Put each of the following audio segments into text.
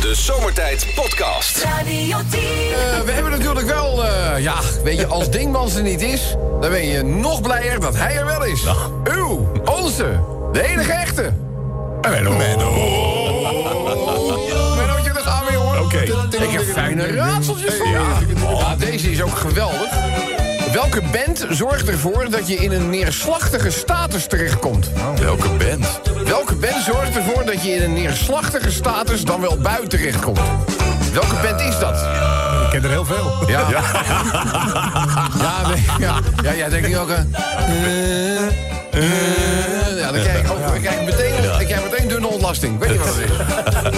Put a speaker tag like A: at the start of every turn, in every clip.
A: de Zomertijd Podcast.
B: Radio 10.
C: Eh, we hebben natuurlijk wel, eh, ja, weet je, als Dingmans er niet is, dan ben je nog blijer dat hij er wel is. Uw, onze, de enige echte. Menno. Menno. Mennootje, daar gaan we, jongen.
D: Oké.
C: Ik heb fijne raadseltjes voor je. Ja, Oh. deze is ook geweldig. Welke band zorgt ervoor dat je in een neerslachtige status terechtkomt?
D: Welke band?
C: Welke band zorgt ervoor dat je in een neerslachtige status dan wel buiten terechtkomt? Welke band is dat?
E: Ik ken er heel veel.
C: Ja. Ja. Ja, nee, ja. ja, jij denkt nu ook... eh, eh, eh. ja, dan krijg ik, ook, dan krijg ik meteen, dan krijg ik meteen dunne ontlasting. Weet je wat het is?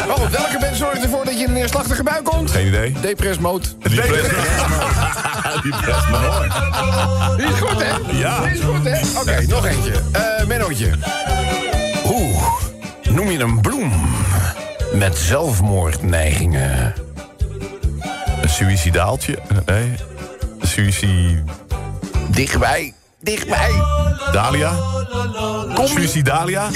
C: Maar goed, welke band zorgt ervoor dat je in een neerslachtige bui komt?
D: Geen idee.
C: Depress mode.
D: Die best Die best mooi.
C: Die is goed, hè?
D: Ja.
C: Die is goed, hè? Oké, nog eentje. Eh Mennootje. Oeh, noem je een bloem met zelfmoordneigingen?
D: Een suïcidaaltje? Nee. Een Suïci...
C: Dichtbij, dichtbij.
D: Dalia? Kom. Suïcidalia?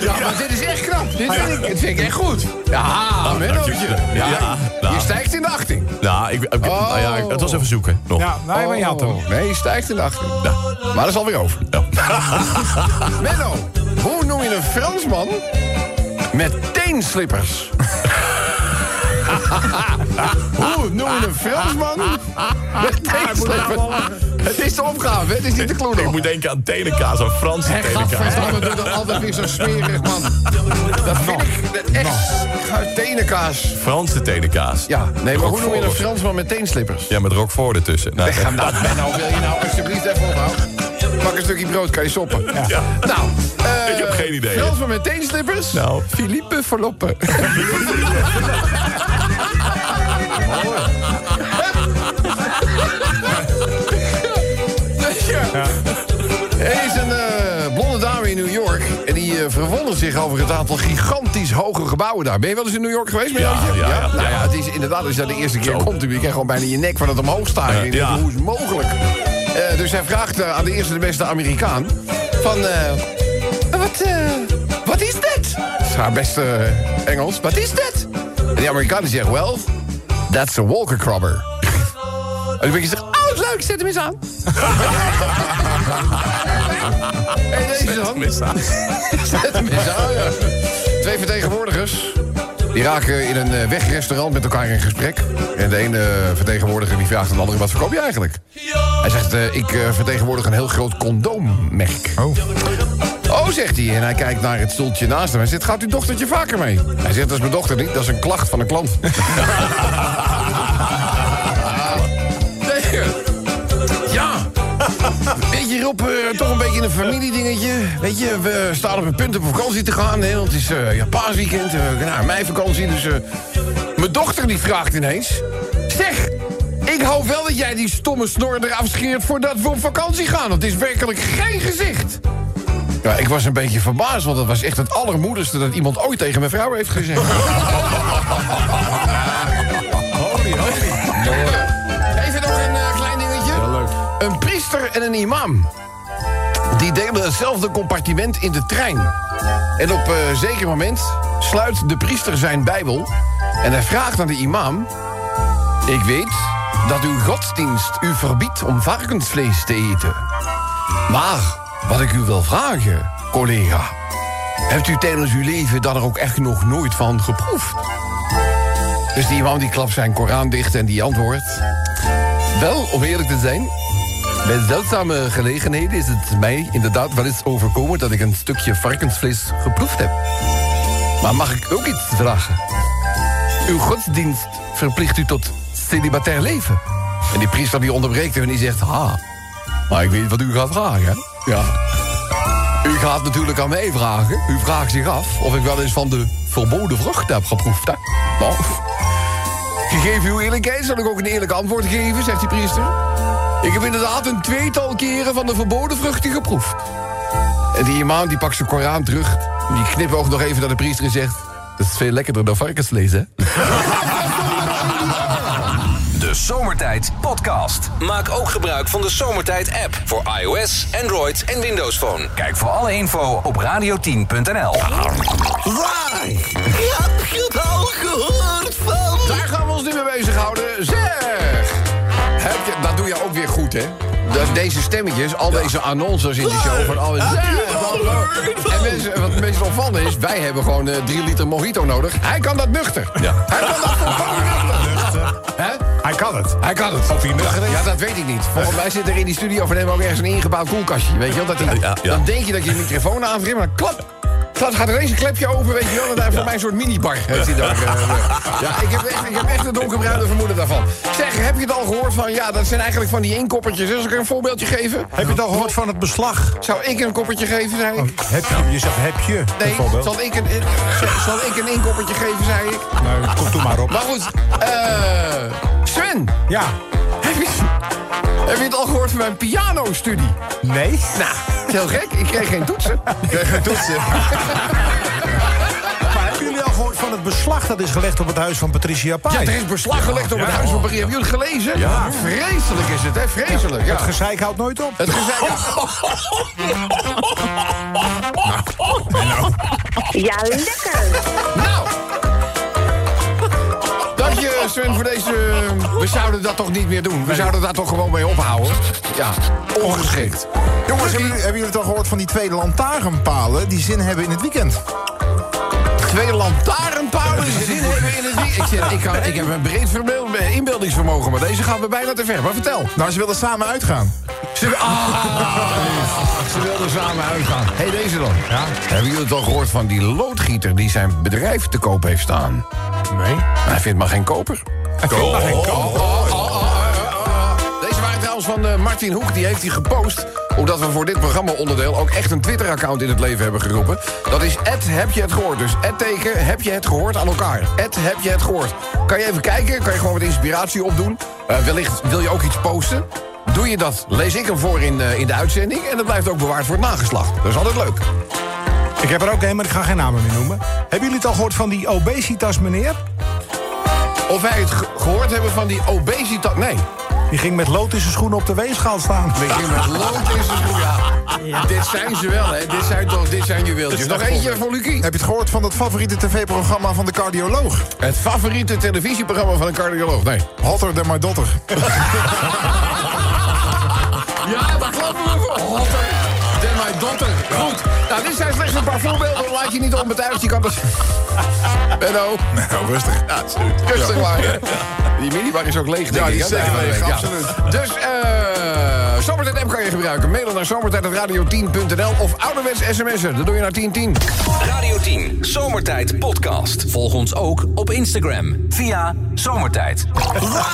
C: Ja, maar dit is echt knap.
E: Ah,
C: Dit vind ik, dit vind ik echt goed. Ja, Mennootje.
D: dankjewel.
C: Ja,
D: Ja, nou.
C: Je stijgt in de achting.
D: Nou, ik, ik- nou ja, ik- het was even zoeken. Nog.
E: Oh. Ah, Ja, nee, maar je had hem.
C: Oh, Nee, je stijgt in de achting. Maar dat is alweer over. Menno, hoe noem je een Fransman met teenslippers? Hoe noem je een Fransman
E: Ah,
C: met teenslippers? Het is de opgave, hè? het is niet de clue
D: Ik
C: nog.
D: moet denken aan telekaas, aan Franse telekaas.
C: Gadverdamme, doe dat altijd weer zo smerig, man. Dat vind ik dat echt tenenkaas.
D: Franse telekaas.
C: Ja, nee, maar hoe noem je een
D: Roquefort.
C: Fransman met teenslippers?
D: Ja, met Roquefort ertussen. Nou,
C: Weg gaan nou, Menno, wil je nou alsjeblieft even ophouden? Pak een stukje brood, kan je soppen.
D: Ja.
C: Nou, eh,
D: Ik heb geen idee.
C: Frans van meteen slippers.
D: Nou.
C: Philippe Verloppen. ja. Er is een eh, blonde dame in New York. En die eh, verwondert zich over het aantal gigantisch hoge gebouwen daar. Ben je wel eens in New York geweest, Mennootje?
D: ja, ja.
C: Nou ja, het is inderdaad, als je daar de eerste keer komt... dan krijg je gewoon bijna je nek van het omhoog staan. En je denkt,
D: ja.
C: Hoe is het mogelijk? Eh, dus hij vraagt eh, aan de eerste de beste Amerikaan... van... eh, wat, eh, wat is dit? Dat is haar beste eh, Engels. Wat is dit? En die Amerikaan die zegt... Well, that's a walkercrubber. en dan ben je zegt... Oh, wat leuk, zet hem eens aan. hey, deze dan. Zet hem eens aan, ja. Twee vertegenwoordigers. Die raken in een eh, wegrestaurant met elkaar in gesprek. En de ene eh, vertegenwoordiger die vraagt aan de andere... wat verkoop je eigenlijk? Hij zegt, eh, ik eh, vertegenwoordig een heel groot condoommerk.
E: Oh.
C: Oh, zegt hij. En hij kijkt naar het stoeltje naast hem. Hij zegt, gaat uw dochtertje vaker mee? Hij zegt, dat is mijn dochter niet. Dat is een klacht van een klant. Nee, ja. Weet je, Rob, eh, toch een beetje een familiedingetje. Weet je, we staan op een punt om op vakantie te gaan. Hè, want het is eh ja, paasweekend, eh, nou, mijn vakantie. Dus eh, mijn dochter die vraagt ineens... Zeg, ik hoop wel dat jij die stomme snor eraf scheert... voordat we op vakantie gaan. Want het is werkelijk geen gezicht. Ja, ik was een beetje verbaasd, want dat was echt het allermoedigste... dat iemand ooit tegen mijn vrouw heeft gezegd. Even nog een eh, klein dingetje. Een priester en een imam. Die delen hetzelfde compartiment in de trein. En op eh, een zeker moment sluit de priester zijn bijbel... en hij vraagt aan de imam... Ik weet dat uw godsdienst u verbiedt om varkensvlees te eten. Maar wat ik u wil vragen, collega... hebt u tijdens uw leven daar ook echt nog nooit van geproefd? Dus die imam die klapt zijn Koran dicht en die antwoordt... Wel, om eerlijk te zijn, bij zeldzame gelegenheden is het mij inderdaad wel eens overkomen dat ik een stukje varkensvlees geproefd heb. Maar mag ik ook iets vragen? Uw godsdienst verplicht u tot celibatair leven. En die priester die onderbreekt hem en die zegt, ha, maar ik weet wat u gaat vragen. hè? Ja. U gaat natuurlijk aan mij vragen. U vraagt zich af of ik wel eens van de verboden vrucht heb geproefd. Hè? Nou, Gegeven uw eerlijkheid zal ik ook een eerlijk antwoord geven, zegt die priester. Ik heb inderdaad een tweetal keren van de verboden vruchten geproefd. En die imam die pakt zijn Koran terug. Die knipoogt nog even naar de priester en zegt... Dat is veel lekkerder dan varkensvlees, hè?
A: De Zomertijd Podcast. Maak ook gebruik van de Zomertijd app voor iOS, Android en Windows Phone. Kijk voor alle info op radio10.nl.
B: Heb je het al gehoord van?
C: Daar gaan we ons nu mee bezighouden. Zeg! Heb je, dat doe je ook weer goed, hè? Dat deze stemmetjes, al deze annonces in die show van alles.
B: Heb je
C: Zeg!
B: het al gehoord van?
C: En mensen, wat het meest opvallend is, wij hebben gewoon eh, drie liter mojito nodig. Hij kan dat nuchter.
D: Ja.
C: Hij kan dat volkomen nuchter. Hè?
E: Hij kan het.
C: Hij kan het.
E: Of hij nuchter is.
C: Ja, dat weet ik niet. Volgens mij zit er in die studio van hem ook ergens een ingebouwd koelkastje. Weet je wel? Dat hij,
D: Ja, ja.
C: Dan denk je dat je een microfoon aandringt, maar dan klap. Dan gaat er eens een klepje open, weet je wel. En daar voor mij een soort minibar heeft hij dan. eh, eh. Ja, ik heb echt, ik heb echt een donkerbruine vermoeden daarvan. Zeg, heb je het al gehoord van... Ja, dat zijn eigenlijk van die inkoppertjes. Zal ik er een voorbeeldje geven?
E: Heb je het al gehoord van het beslag? Oh,
C: Zou ik een koppertje geven, zei ik?
E: Heb je, je zegt heb je,
C: Nee,
E: bijvoorbeeld.
C: zal ik een, eh, zal ik een inkoppertje geven, zei ik?
E: Nou, kom toe maar op.
C: Maar goed, eh Sven,
E: Ja.
C: heb je, heb je het al gehoord van mijn pianostudie?
E: Nee?
C: Nou, heel gek. Ik kreeg geen toetsen. Ik kreeg geen toetsen.
E: Maar hebben jullie al gehoord van het beslag dat is gelegd op het huis van Patricia Pai?
C: Ja, er is beslag gelegd op het huis van Maria. Hebben jullie het gelezen?
D: Ja.
C: Vreselijk is het, hè? Vreselijk. Ja.
E: Het gezeik houdt nooit op.
C: Het gezeik.
F: Ja, lekker.
C: Nou! Dank je, Sven, voor deze... eh, We zouden dat toch niet meer doen. We zouden daar toch gewoon mee ophouden. Ja, ongeschikt.
G: Jongens, hebben jullie, hebben jullie het al gehoord van die twee lantaarnpalen die zin hebben in het weekend?
C: Twee lantaarnpalen die zin hebben in het wiek. Ik, zeg, ik, kan, ik heb een breed vermeel- inbeeldingsvermogen, maar deze gaan we bijna te ver. Maar vertel.
G: Nou, ze willen samen uitgaan.
C: Ze, ah, ze wilden samen uitgaan. Hé, hey, deze dan. Hebben jullie het al gehoord van die loodgieter die zijn bedrijf te koop heeft staan?
E: Nee.
C: Hij vindt maar geen koper. Deze waren trouwens van eh, Martin Hoek, die heeft die gepost. Omdat we voor dit programma-onderdeel ook echt een Twitter-account in het leven hebben geroepen. Dat is het heb je het gehoord. Dus het teken heb je het gehoord aan elkaar. Het heb je het gehoord. Kan je even kijken, kan je gewoon wat inspiratie opdoen. Eh, wellicht wil je ook iets posten. Doe je dat, lees ik hem voor in, eh, in de uitzending. En dat blijft ook bewaard voor het nageslacht. Dat is altijd leuk.
E: Ik heb er ook een, maar ik ga geen namen meer noemen. Hebben jullie het al gehoord van die obesitas meneer?
C: Of wij het ge- gehoord hebben van die obesitas... Nee.
E: Die ging met lood in zijn schoenen op de weegschaal staan.
C: Ik ging met lood in zijn schoen, ja. Dit zijn ze wel, hè. Dit zijn toch, dit zijn juweeltjes. Nog eentje voor Lucie.
G: Heb je het gehoord van dat favoriete tv-programma van de cardioloog?
C: Het favoriete televisieprogramma van een cardioloog, nee.
G: Hotter dan my dotter.
C: Ja, dat klopt we voor. Hotter dan mijn dotter. Goed. Nou, dit zijn slechts een paar voorbeelden. Laat je niet onbetuigd. Je kan dat... Benno.
G: Nou, rustig.
C: Rustig maar. Die minibar is ook leeg, denk
G: Ja, die
C: ik,
G: is
C: hè,
G: zeker
C: deze
G: leeg,
C: week, ja.
G: absoluut.
C: Dus, eh... Zomertijd app kan je gebruiken. Mailen naar zomertijd.radio10.nl of ouderwets sms'en. Dat doe je naar 1010.
A: Radio 10, Zomertijd Podcast. Volg ons ook op Instagram via Zomertijd.
B: Heb je het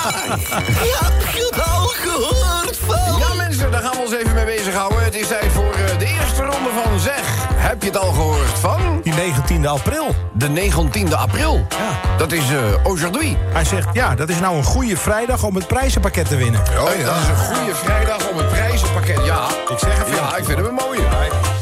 B: al gehoord van?
C: Ja mensen, daar gaan we ons even mee bezighouden. Het is tijd voor eh, de eerste ronde van Zeg. Heb je het al gehoord van?
E: Die 19e april.
C: De 19e april.
E: Ja.
C: Dat is eh aujourd'hui.
E: Hij zegt, ja, dat is nou een goede vrijdag om het prijzenpakket te winnen.
C: Oh, Dat is een goede vrijdag om het prijzenpakket. Ja,
E: Ik zeg het
C: ja
E: wel.
C: ik vind hem een mooie.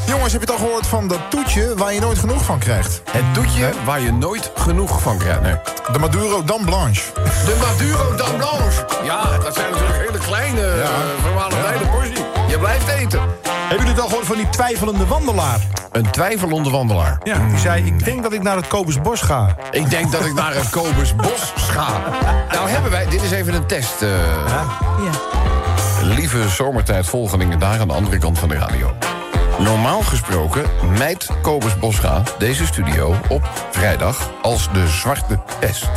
G: Jongens, heb je het al gehoord van dat toetje waar je nooit genoeg van krijgt?
C: Het toetje waar je nooit genoeg van krijgt. Nee.
G: De Maduro Dan Blanche.
C: De Maduro Dan Blanche. Ja, dat zijn natuurlijk hele kleine, eh, ja. verwaarloosde portie. Je blijft eten.
E: Hebben jullie het al gehoord van die twijfelende wandelaar?
C: Een twijfelende wandelaar.
E: Ja. Die zei, ik denk dat ik naar het Kobersbos ga.
C: Ik denk dat ik naar het Kobus Bos ga. Nou hebben wij, dit is even een test. eh, Lieve zomertijd volgelingen daar aan de andere kant van de radio. Normaal gesproken mijt Kobus Bosga deze studio op vrijdag als de zwarte pest.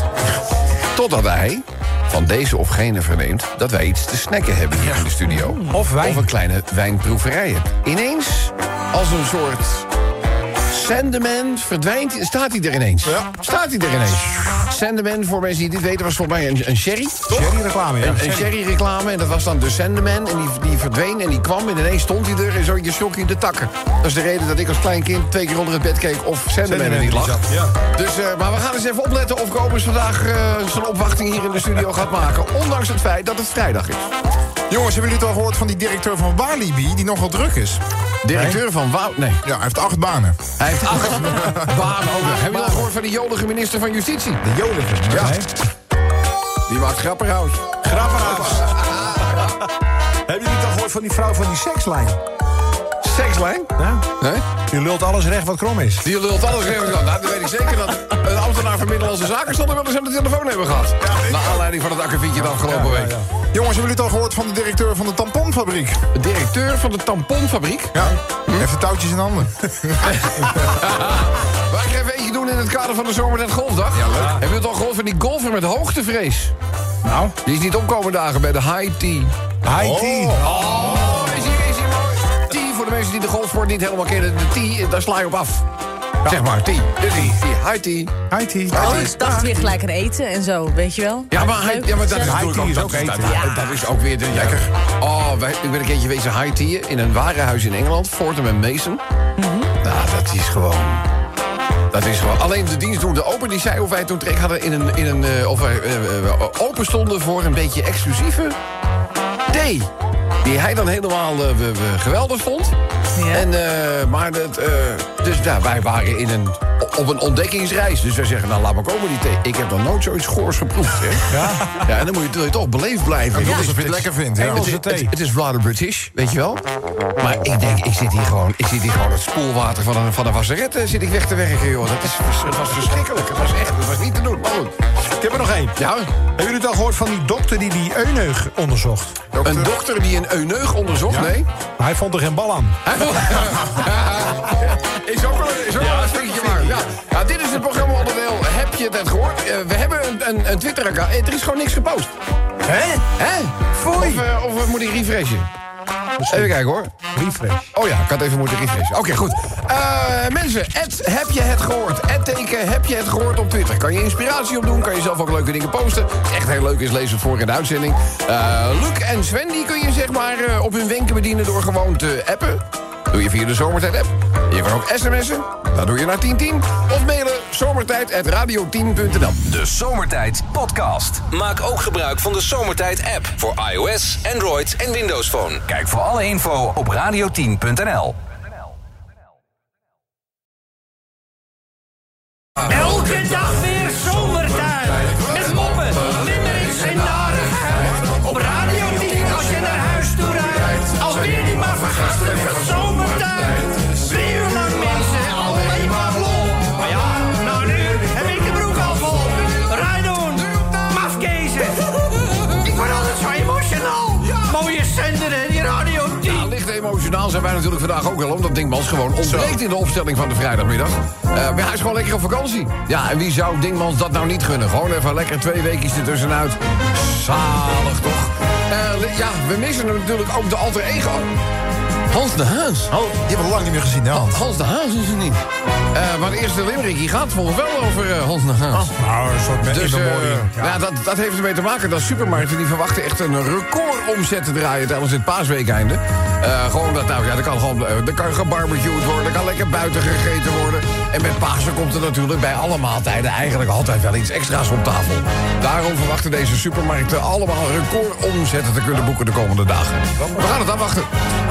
C: Totdat hij van deze of gene verneemt dat wij iets te snacken hebben hier in de studio.
E: Mm. Of wijn.
C: Of een kleine wijnproeverij hebt. Ineens, als een soort Sandeman verdwijnt. Staat hij er ineens? Staat hij er ineens? Sandeman, voor mensen die dit weten, was volgens mij een, een sherry.
E: Sherry reclame, ja.
C: Een, een sherry-reclame. En dat was dan de Sandeman. En die, die verdween en die kwam. En ineens stond hij er en zo je schok in de takken. Dat is de reden dat ik als klein kind twee keer onder het bed keek... of Sandeman er niet lag. Dus, eh, maar we gaan eens even opletten of Kobus vandaag eh, zijn opwachting hier in de studio gaat maken. Ondanks het feit dat het vrijdag is.
G: Jongens, hebben jullie het al gehoord van die directeur van Walibi die nogal druk is?
C: Directeur van Wauw... Nee,
G: Ja, hij heeft acht banen.
C: hij heeft acht banen over. Hebben jullie al gehoord van de jolige minister van Justitie?
G: De jolige. Ja.
E: Nee.
G: Die
C: Die maakt grapperhaus.
E: Grapperhaus. Hebben jullie het al gehoord van die vrouw van die sekslijn?
C: Sekslijn?
E: Ja?
C: Nee?
E: Je lult alles recht wat krom is.
C: Die lult alles regels aan. Nou, dan weet ik zeker dat een ambtenaar van Middellandse Zaken... stond er wel eens aan de telefoon hebben gehad. Naar aanleiding van het akkefietje de afgelopen
E: Ja, ja,
C: week.
G: Jongens, hebben jullie het al gehoord van de directeur van de tamponfabriek?
C: De directeur van de tamponfabriek.
G: Ja. Even touwtjes in handen.
C: Wij gaan even eentje doen in het kader van de Zomernet Golfdag. Ja, leuk. Hebben jullie het al gehoord van die golfer met hoogtevrees?
E: Nou,
C: Die is niet opkomen dagen bij de high tea.
E: high tea.
C: Oh, is hier, is hier mooi. Tea voor de mensen die de golfsport niet helemaal kennen. De tea, daar sla je op af. Zeg maar, tea. De tea. tea. High tea.
E: High tea.
H: Oh, ik dacht weer gelijk aan eten en zo, weet je wel?
C: Ja, maar, hij- ja, maar dat, is
E: High
C: natuurlijk
E: tea is
C: dat-
E: ook
C: dat-
E: eten.
C: Dat, dat is ook weer de- lekker. Oh, wij, ik ben een keertje wezen high tea in een warenhuis in Engeland. Fortum en Mason.
E: Mhm.
C: Nou, dat is gewoon... Dat is gewoon. Alleen de dienstdoende open die zei of wij toen trek hadden in een. In een eh, of wij eh, eh, open stonden voor een beetje exclusieve thee. Die hij dan helemaal eh, we- we geweldig vond.
H: Ja.
C: En, eh, maar dat, eh, dus nou, wij waren in een, op een ontdekkingsreis. Dus wij zeggen, nou laat maar komen die thee. Ik heb nog nooit zoiets goors geproefd. Hè? Ja? en dan moet je, wil je toch beleefd blijven.
G: Ja,
C: Het is-
G: alsof je het
C: is-
G: lekker vindt, ja.
C: Het, is-
E: Engelse thee.
C: het- het is rather British, weet je wel. Maar ik denk, ik zit hier gewoon, ik zit hier gewoon het spoelwater van een, van een wasserette zit ik weg te werken, joh. Dat, is, vers- dat was verschrikkelijk. Het was echt, het was niet te doen. Maar goed.
E: Ik heb er nog één.
C: Ja,
E: Hebben jullie het al gehoord van die dokter die die euneug onderzocht?
C: een dokter die een euneug onderzocht, nee?
E: Hij vond er geen bal aan.
C: is ook wel, is ook wel een stukje waar. Ja. Ja, dit is het programma onderdeel. Heb je dat gehoord? Eh, we hebben een, een, een Twitter-account. Eh, Er is gewoon niks gepost.
E: Hè?
C: Hè? Foei. Of, eh, of eh, moet ik refreshen? Even kijken hoor.
E: Refresh.
C: Oh ja, ik had even moeten refreshen. Oké, goed. Eh, mensen, Ed, heb je het gehoord? Ed teken, heb je het gehoord op Twitter? Kan je inspiratie opdoen? Kan je zelf ook leuke dingen posten? Als het echt heel leuk is, lees het voor in de uitzending. Eh, Luc en Sven, die kun je zeg maar eh, op hun wenken bedienen door gewoon te appen. Doe je via de Zomertijd-app. Je kan ook sms'en. Dat doe je naar 1010. Of mailen zomertijd.radio10.nl.
A: De Zomertijd Podcast. Maak ook gebruik van de Zomertijd app voor iOS, Android en Windows Phone. Kijk voor alle info op radio10.nl.
I: Elke dag weer zomertijd. Met moppen, limmerings en narigheid. Op Radio 10 als je naar huis toe rijdt. Alweer die maar vergasten van zomertijd. Drie uur lang mensen, alleen maar lol. Maar ja, nou nu heb ik de broek al vol. Rijdoen, mafkezen. Ik word altijd zo emotional. Mooie zender hè, die Radio 10.
C: Licht emotionaal zijn wij natuurlijk vandaag ook wel, omdat Dingmans gewoon ontbreekt in de opstelling van de vrijdagmiddag. Eh, maar hij is gewoon lekker op vakantie. Ja, en wie zou Dingmans dat nou niet gunnen? Gewoon even lekker twee weekjes ertussenuit. Zalig toch? Eh, li- ja, we missen hem natuurlijk ook de alter ego. Hans de Haas.
G: Oh, die hebben we lang niet meer gezien, hè Hans?
C: Hans de Haas is er niet. Eh, maar de eerste limerick die gaat volgens wel over eh, Hans de Haas.
E: Nou, een soort met
C: Dus eh,
E: ja.
C: ja. dat, dat heeft ermee te maken dat supermarkten die verwachten echt een recordomzet te draaien tijdens het paasweekeinde. Eh, gewoon dat, nou ja, dat kan gewoon, eh, dat kan gebarbecued worden, dat kan lekker buiten gegeten worden. En met Pasen komt er natuurlijk bij alle maaltijden eigenlijk altijd wel iets extra's op tafel. Daarom verwachten deze supermarkten allemaal recordomzetten te kunnen boeken de komende dagen. We gaan het afwachten.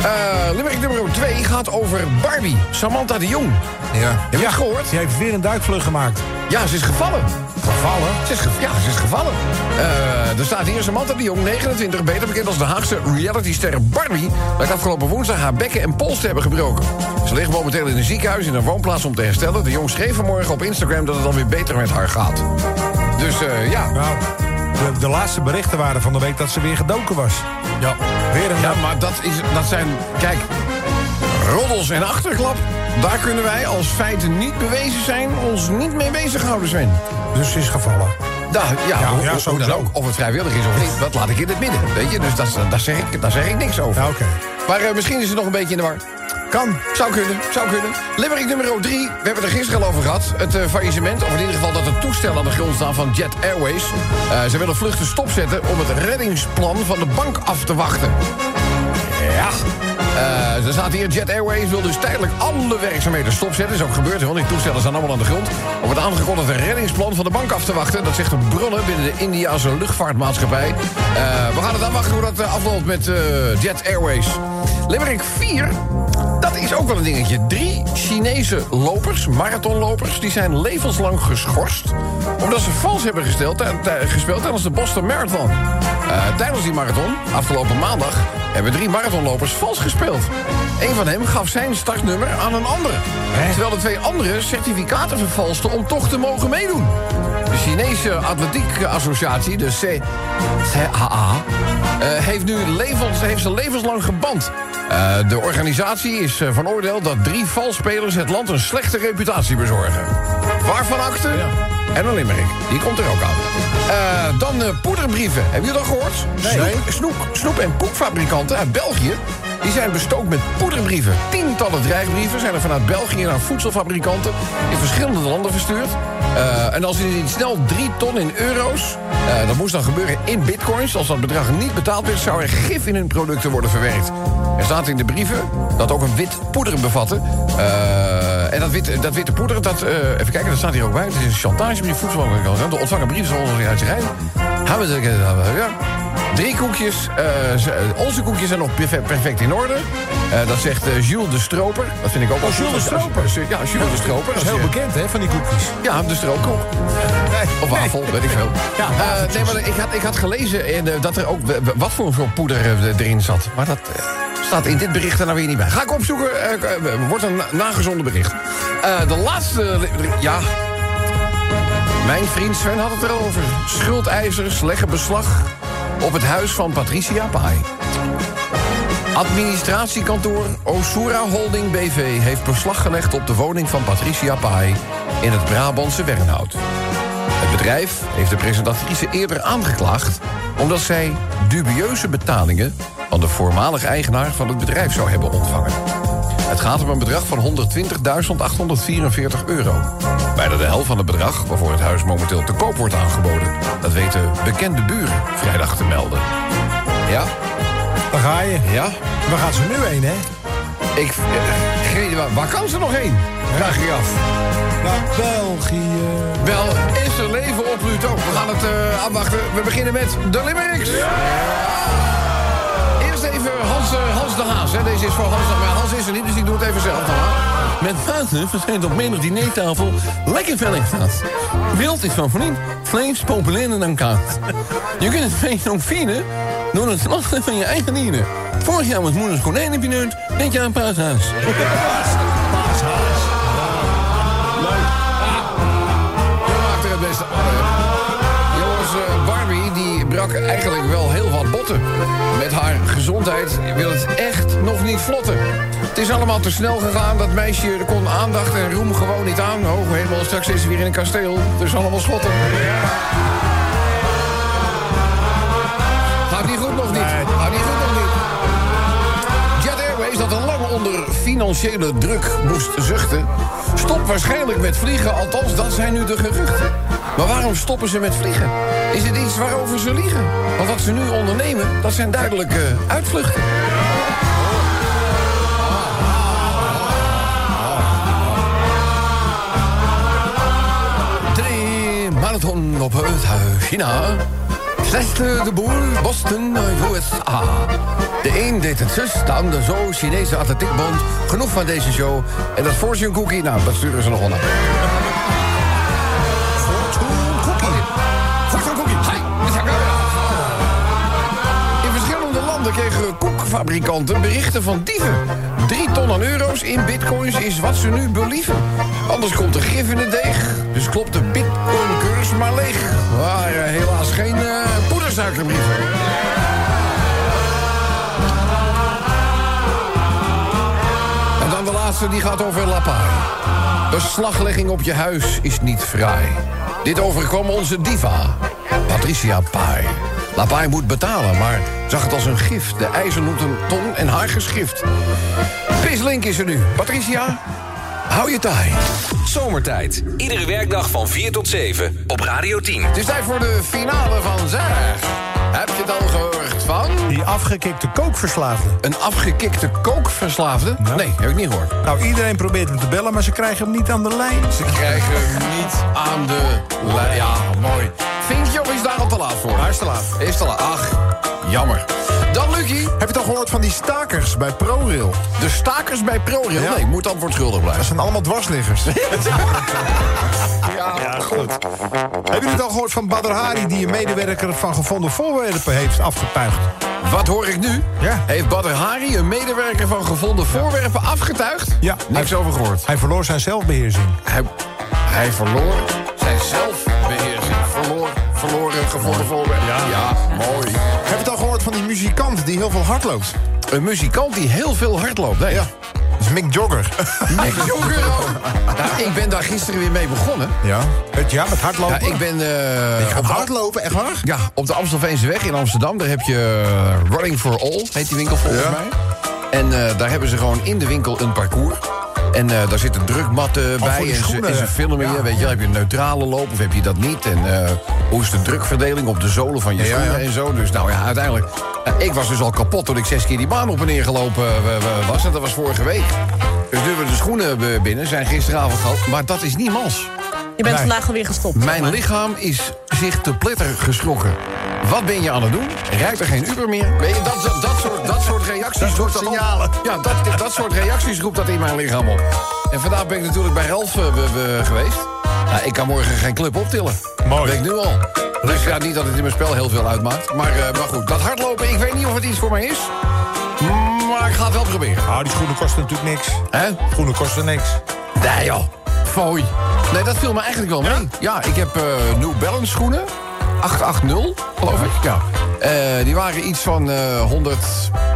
C: Eh limerick nummer 2 gaat over Barbie, Samantha de Jong.
G: Ja.
C: Heb je het gehoord?
E: Die heeft weer een duikvlucht gemaakt.
C: Ja, ze is gevallen.
E: Gevallen?
C: Ze is ge- ja, ze is gevallen. Eh, er staat hier Samantha de Jong, 29, beter bekend als de Haagse realityster Barbie... lijkt afgelopen woensdag haar bekken en pols te hebben gebroken. Ze ligt momenteel in een ziekenhuis in een woonplaats om te herstellen. De Jong schreef vanmorgen op Instagram dat het alweer beter met haar gaat. Dus eh, ja.
E: Nou, de, de laatste berichten waren van de week dat ze weer gedoken was. Ja. Weer een
C: Ja, maar dat, is, dat zijn... Kijk, roddels en achterklap... daar kunnen wij als feiten niet bewezen zijn... ons niet mee bezighouden, Sven.
E: Dus ze is gevallen.
C: Nou, ja,
E: Ja,
C: hoe-
E: ja,
C: hoe
E: sowieso.
C: dan ook. Of het vrijwillig is of niet, dat laat ik in het midden. Weet je, dus dat, dat zeg ik, daar zeg ik niks over.
E: Ja, oké.
C: Maar eh, misschien is het nog een beetje in de war.
E: Kan.
C: Zou kunnen, zou kunnen. Limerick nummer 3, we hebben het er gisteren al over gehad. Het eh, faillissement, of in ieder geval dat er toestellen aan de grond staan van Jet Airways. Eh, ze willen vluchten stopzetten om het reddingsplan van de bank af te wachten. Ja. Eh, er staat hier, Jet Airways wil dus tijdelijk alle werkzaamheden stopzetten. Is ook gebeurd, want die toestellen staan allemaal aan de grond. Om het aangekondigde reddingsplan van de bank af te wachten. Dat zegt een bronnen binnen de Indiase luchtvaartmaatschappij. Eh, we gaan het afwachten hoe dat eh, afloopt met eh, Jet Airways. Limerick 4 Dat is ook wel een dingetje. Drie Chinese lopers, marathonlopers, die zijn levenslang geschorst. Omdat ze vals hebben gesteld, tij- tij- gespeeld tijdens de Boston Marathon. Eh, tijdens die marathon, afgelopen maandag, hebben drie marathonlopers vals gespeeld. Een van hen gaf zijn startnummer aan een ander. Terwijl de twee anderen certificaten vervalsten om toch te mogen meedoen. De Chinese Atletiek Associatie, de CAA, eh, heeft nu levens, heeft ze levenslang geband. Eh, de organisatie is eh, van oordeel dat drie valspelers het land een slechte reputatie bezorgen. Waarvan akte? En een limmerik. Die komt er ook aan. Eh, dan eh, poederbrieven. Hebben jullie dat gehoord? Snoep, snoep, snoep- en poepfabrikanten uit België... die zijn bestookt met poederbrieven. Tientallen dreigbrieven zijn er vanuit België... naar voedselfabrikanten in verschillende landen verstuurd. Eh, en als u dit snel 3 ton in euro's... eh, dat moest dan gebeuren in bitcoins. Als dat bedrag niet betaald werd, zou er gif in hun producten worden verwerkt. Er staat in de brieven dat ook een wit poeder bevatten. Eh, en dat, wit, dat witte poeder, dat, eh, even kijken, dat staat hier ook bij. Het is een chantagebrief, voedselbank. De ontvangen brief zal ons uit zijn. Gaan we zeggen, ja. Drie koekjes. eh, ze- onze koekjes zijn nog perfe- perfect in orde. Eh, dat zegt eh, Jules de Stroper. Dat vind ik ook wel
E: Oh, Jules
C: goed.
E: de Oh,
C: Als- als- Ja, Jules de Stroper.
E: Dat is
C: Als je-
E: heel bekend, hè, van die koekjes.
C: ja, de strookkoek. Of wafel, weet ik veel.
E: Ja,
C: Eh, nee, maar ik had, ik had gelezen eh, dat er ook w- w- wat voor soort poeder eh, erin zat. Maar dat eh, staat in dit bericht er nou weer niet bij. Ga ik opzoeken, eh, k- eh, wordt een na- nagezonden bericht. Eh, de laatste, li- ja... Mijn vriend Sven had het erover. Schuldeisers leggen beslag op het huis van Patricia Pai. Administratiekantoor Osura Holding BV heeft beslag gelegd op de woning van Patricia Pai in het Brabantse Wernhout. Het bedrijf heeft de presentatrice eerder aangeklaagd omdat zij dubieuze betalingen van de voormalig eigenaar van het bedrijf zou hebben ontvangen. Het gaat om een bedrag van 120.844 euro. Bijna de helft van het bedrag waarvoor het huis momenteel te koop wordt aangeboden. Dat weten bekende buren vrijdag te melden. Ja,
E: Daar ga je.
C: ja,
E: Waar gaat ze nu heen, hè?
C: ik, eh, geen idee waar, waar kan ze nog heen? Vraag je af.
E: Naar België.
C: Wel, is er leven op Pluto? We gaan het eh, afwachten. We beginnen met de Limericks. Eerst even Hans, eh, Hans de Haas. Hè. Deze is voor Hans, maar Hans is er niet, dus ik doe het even zelf. Dan. Met vaten verschijnt op menig dinertafel lekker velling gaat. Wild is van vriend, vlees populairder dan kaart. Je kunt het feest ook vieren door het slachten van je eigen dieren. Vorig jaar was moeders konijn in pineut, dit jaar een paashaas. Je maakt er het beste van, hè? Jongens, eh, Barbie die brak eigenlijk wel heel wat botten. Met haar gezondheid wil het echt nog niet vlotten. Het is allemaal te snel gegaan. Dat meisje kon aandacht en roem gewoon niet aan. Oh, helemaal straks is ze weer in een kasteel. Dus allemaal schotten. Gaat niet goed nog niet. Gaat niet goed nog niet. Jet Airways, dat al lang onder financiële druk moest zuchten... stopt waarschijnlijk met vliegen, althans dat zijn nu de geruchten. Maar waarom stoppen ze met vliegen? Is het iets waarover ze liegen? Want wat ze nu ondernemen, dat zijn duidelijke uitvluchten. Drie marathon op het huis China. Slechte de boer, Boston, USA. De een deed het zus, de ander zo. Chinese atletiekbond, genoeg van deze show. En dat fortune cookie, nou, dat sturen ze nog wel naar. Fortune cookie. Hi, dit heb ik ook. In verschillende landen kregen koekfabrikanten berichten van dieven. Drie ton aan euro's in bitcoins is wat ze nu believen. Anders komt er gif in de deeg, dus klopt de bitcoincurs maar leeg. Waren helaas geen eh poedersuikerbrieven. En dan de laatste, die gaat over Lapai. Beslaglegging op je huis is niet fraai. Dit overkwam onze diva, Patricia Pai. Lapai moet betalen, maar zag het als een gift. De ijzer noemt hem ton en haar geschrift. Pislink is er nu. Patricia, hou je taai.
A: Zomertijd. Iedere werkdag van 4 tot 7 op Radio 10.
C: Het is tijd voor de finale van Zeg. Heb je het al gehoord van?
E: Die afgekikte kookverslaafde.
C: Een afgekikte kookverslaafde? Nee, heb ik niet gehoord.
E: Nou, iedereen probeert hem te bellen, maar ze krijgen hem niet aan de lijn.
C: Ze krijgen hem niet aan de lijn. Ja, mooi. Vinkje of is daar al te laat voor?
E: Hij is te laat.
C: Is te laat. Ach, jammer. Dan Lucky.
G: Heb je toch gehoord van die stakers bij ProRail?
C: De stakers bij ProRail.
G: Ja.
C: Nee, moet antwoord schuldig
G: Dat
C: blijven.
G: zijn allemaal dwarsliggers.
E: Ja, goed. Hebben jullie het al gehoord van Badr Hari... die een medewerker van gevonden voorwerpen heeft afgetuigd?
C: Wat hoor ik nu?
E: Ja.
C: Heeft Badr Hari, een medewerker van gevonden voorwerpen, afgetuigd?
E: Ja.
C: Niks over gehoord.
E: Hij verloor zijn zelfbeheersing.
C: Hij, hij verloor zijn zelfbeheersing. Verloor, verloren, gevonden voorwerpen. Ja. mooi.
G: Heb je het al gehoord van die muzikant die heel veel hardloopt?
C: Een muzikant die heel veel hard loopt. Nee.
G: Ja. Dat is Mick Jogger.
C: Ik, jonger ook. Nou, ik ben daar gisteren weer mee begonnen.
G: ja.
E: Het, ja, met
C: Ja,
E: hardlopen.
C: ik ben eh, op,
G: Hardlopen, echt waar?
C: ja, op de Amstelveenseweg in Amsterdam. Daar heb je eh, Running for All, heet die winkel volgens mij. En eh, daar hebben ze gewoon in de winkel een parcours. En eh, daar zitten drukmatten bij
G: die
C: en ze,
G: schoenen.
C: en ze filmen je. Weet je, wel, heb je een neutrale loop of heb je dat niet? En eh, hoe is de drukverdeling op de zolen van je
G: Ja,
C: schoenen
G: ja.
C: en zo? Dus nou ja, uiteindelijk... eh, ik was dus al kapot toen ik zes keer die baan op en neer gelopen eh, we- we- was. En dat was vorige week. Dus nu we de schoenen eh, binnen zijn gisteravond gehad. Maar dat is niet mals.
H: Je bent vandaag alweer gestopt.
C: Mijn lichaam is zich te pletter geschrokken. Wat ben je aan het doen? Rijdt er geen Uber meer? Weet je, dat, dat, dat soort, dat soort reacties roept dat op. Ja, dat, dat soort reacties roept dat in mijn lichaam op. En vandaag ben ik natuurlijk bij Ralf eh, we- we geweest. Nou, ik kan morgen geen club optillen.
E: Mooi.
C: Dat weet ik nu al. Dus ja, niet dat het in mijn spel heel veel uitmaakt. Maar, eh, maar goed, dat hardlopen, ik weet niet of het iets voor mij is. Maar ik ga het wel proberen.
E: Ah, die schoenen kosten natuurlijk niks.
C: Hè?
E: Schoenen kosten niks.
C: Nee joh, fooi. Nee, dat viel me eigenlijk wel mee. Ja, ik heb eh, New Balance schoenen. 880, geloof ik. Ja. Eh, die waren iets van eh 100,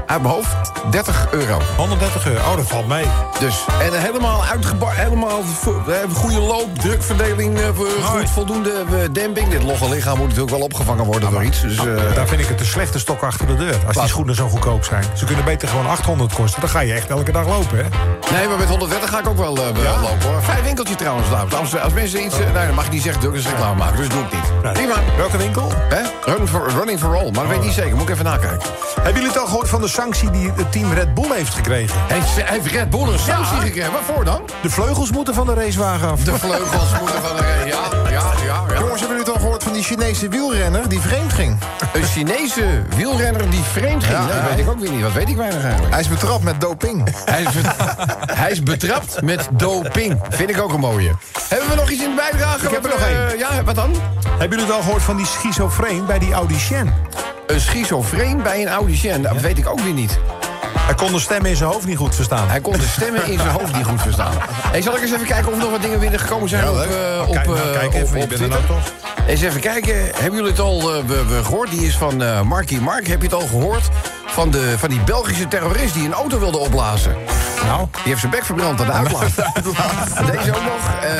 C: uit mijn hoofd, 30 euro.
E: 130 euro. Oh, dat valt mee.
C: Dus, en helemaal uitgebouwd, helemaal vo- eh, goede loop, drukverdeling, eh, goed, voldoende eh, demping. Dit logge lichaam moet natuurlijk wel opgevangen worden door iets. Dus, eh,
E: Daar vind ik het de slechte stok achter de deur. Als
C: Wat?
E: die schoenen zo goedkoop zijn. Ze kunnen beter gewoon 800 kosten. Dan ga je echt elke dag lopen, hè?
C: Nee, maar met 130 ga ik ook wel eh, wel lopen hoor. Fijn winkeltje trouwens, dames. Als, als mensen iets... eh, nou, dan mag je niet zeggen, druk is reclame maken. Dus doe ik niet. Prima.
E: Welke winkel?
C: Hè? Run for, running for all, maar dat weet ik niet zeker. Moet ik even nakijken.
E: Hebben jullie het al gehoord van de sanctie die het team Red Bull heeft gekregen?
C: Heeft, heeft Red Bull een sanctie gekregen? Waarvoor dan?
E: De vleugels moeten van de racewagen af.
C: De vleugels moeten van de... Ja, ja, ja, ja.
G: Jongens, hebben jullie het al gehoord van die Chinese wielrenner die vreemd ging?
C: Een Chinese wielrenner die vreemd ging.
G: Ja,
C: Nou, dat
G: ja.
C: weet ik ook weer niet. Wat weet ik weinig eigenlijk.
G: Hij is betrapt met doping.
C: Hij is, bet- hij is betrapt met doping. Vind ik ook een mooie. Hebben we nog iets in de bijdrage? Ik
E: heb er nog één.
C: ja, wat dan?
E: Hebben jullie het al gehoord van die schizofreen bij die audition?
C: Een schizofreen bij een audition. Dat weet ik ook weer niet.
E: Hij kon de stemmen in zijn hoofd niet goed verstaan.
C: Hij kon de stemmen in zijn hoofd niet goed verstaan. Hey, zal ik eens even kijken of er nog wat dingen binnengekomen zijn op, eh, op,
E: Kijk, nou,
C: eh,
E: kijk
C: op,
E: even,
C: op
E: je bent er
C: Twitter?
E: nou toch?
C: Eens even kijken, hebben jullie het al eh, we- we gehoord? Die is van eh Marky Mark, heb je het al gehoord? Van, de, van die Belgische terrorist die een auto wilde opblazen.
E: Nou,
C: Die heeft zijn bek verbrand aan de uitlaat. Deze ook nog. eh,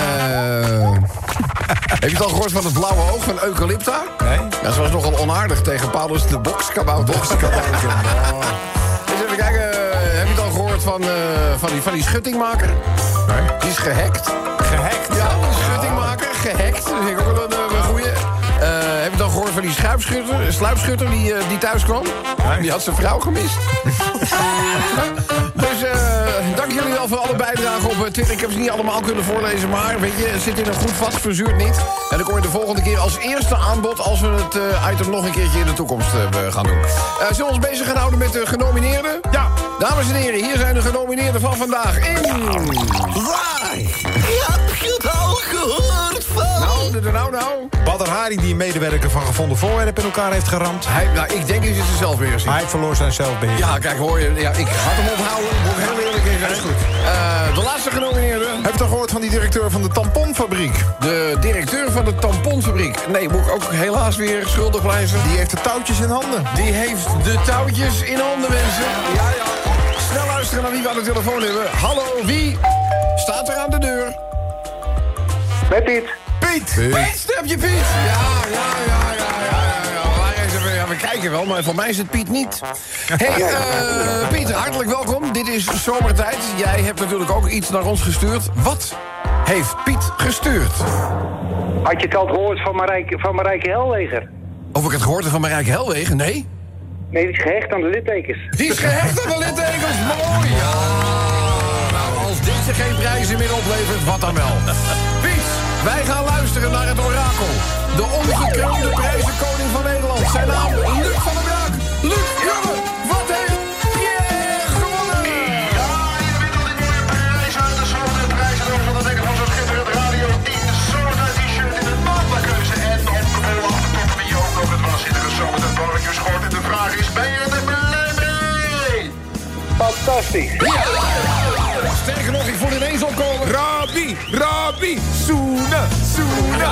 C: heb je het al gehoord van het blauwe oog van Eucalypta?
E: Nee.
C: Ja, ze was nogal onaardig tegen Paulus de bokskabouter. Eens even kijken, eh, heb je het al gehoord van, eh, van, die, van die schuttingmaker?
E: Nee.
C: Die is gehackt.
E: gehackt.
C: Ja, schuttingmaker, gehackt. Dat vind ik ook wel een, eh, een goeie. Eh, heb je het al gehoord van die schuipschutter, sluipschutter die, eh, die thuis kwam? Die had zijn vrouw gemist. dus eh, dank jullie wel voor alle bijdragen op eh, Twitter. Ik heb ze niet allemaal kunnen voorlezen, maar weet je, het zit in een goed vast, verzuurt niet. En dan kom je de volgende keer als eerste aanbod als we het eh, item nog een keertje in de toekomst eh, gaan doen. Eh, zullen we ons bezig gaan houden met de genomineerden?
E: Ja.
C: Dames en heren, hier zijn de genomineerden van vandaag in...
B: Waar? Heb je het al gehoord van?
C: Nou, nou, nou, nou.
E: Badr Hari die een medewerker van gevonden voorwerp in elkaar heeft geramd.
C: Hij, nou, ik denk dat je ze zelf weer ziet.
E: Hij verloor zijn zelfbeheer.
C: Ja, kijk, hoor je. Ja, ik had hem ophouden. Moet ik heel eerlijk in zijn. Is goed. de laatste genomineerde.
G: Heb je het al gehoord van die directeur van de tamponfabriek?
C: De directeur van de tamponfabriek. Nee, moet ik ook helaas weer schuldig blijven.
G: Die heeft de touwtjes in handen.
C: Die heeft de touwtjes in handen, mensen. Ja, ja. Snel luisteren naar wie we aan de telefoon hebben. Hallo, wie staat er aan de deur?
J: Met Piet.
C: Piet! Piet, snap je Piet? Ja, ja, ja, ja, ja, ja, ja. Maar eens even- ja, We kijken wel, maar voor mij is het Piet niet. hey, eh, Piet, hartelijk welkom. Dit is Zomertijd. Jij hebt natuurlijk ook iets naar ons gestuurd. Wat heeft Piet gestuurd?
J: Had je het al gehoord van Marijke, van Marijke Helleger?
C: Of ik het gehoord heb van Marijke Helwegen? Nee.
J: Nee, die is gehecht aan de littekens.
C: Die is gehecht aan de littekens. Mooi, ja. Nou, als dit je geen prijzen meer oplevert, wat dan wel. Piet, wij gaan luisteren naar het orakel. De ongekroonde prijzenkoning van Nederland. Zijn naam Luc van der Braak. Luc, jongen.
I: Happy. Zoenen, zoenen.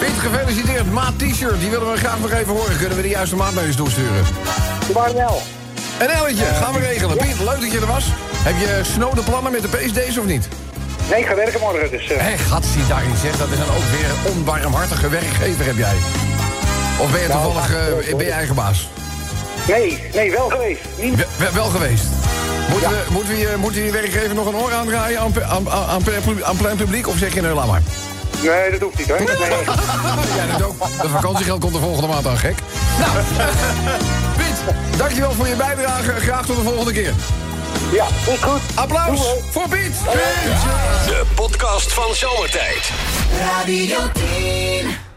C: Piet, gefeliciteerd. Maat T-shirt, die willen we graag nog even horen. Kunnen we de juiste maat naar je doorsturen?
J: Waar wel?
C: Een elletje, gaan we regelen. Piet, leuk dat je er was. Heb je snode plannen met de PSD's of niet?
J: Nee, ik ga werken morgen, dus... eh,
C: Hé, gatsie daarin zeg, dat is dan ook weer een onbarmhartige werkgever heb jij. Of ben je
J: Nou,
C: toevallig
J: ach,
C: eh,
J: eh,
C: ben je eigen baas?
J: nee, nee, wel geweest. Niet...
C: We- we- wel geweest. Moeten, we, moeten, we, je- moeten we je werkgever nog een oor aandraaien aan, pe- aan, aan, aan pe- aan plein publiek? Of zeg je nou, laat maar.
J: Nee, dat hoeft niet, hoor. Nee.
C: Ja, dat ook. Dat vakantiegeld komt de volgende maand aan, gek. Nou, Piet, dankjewel voor je bijdrage. Graag tot de volgende keer.
J: Ja, is goed.
C: Applaus
J: Doei.
C: voor Piet. Piet!
A: De podcast van Zomertijd.
I: Radio 10.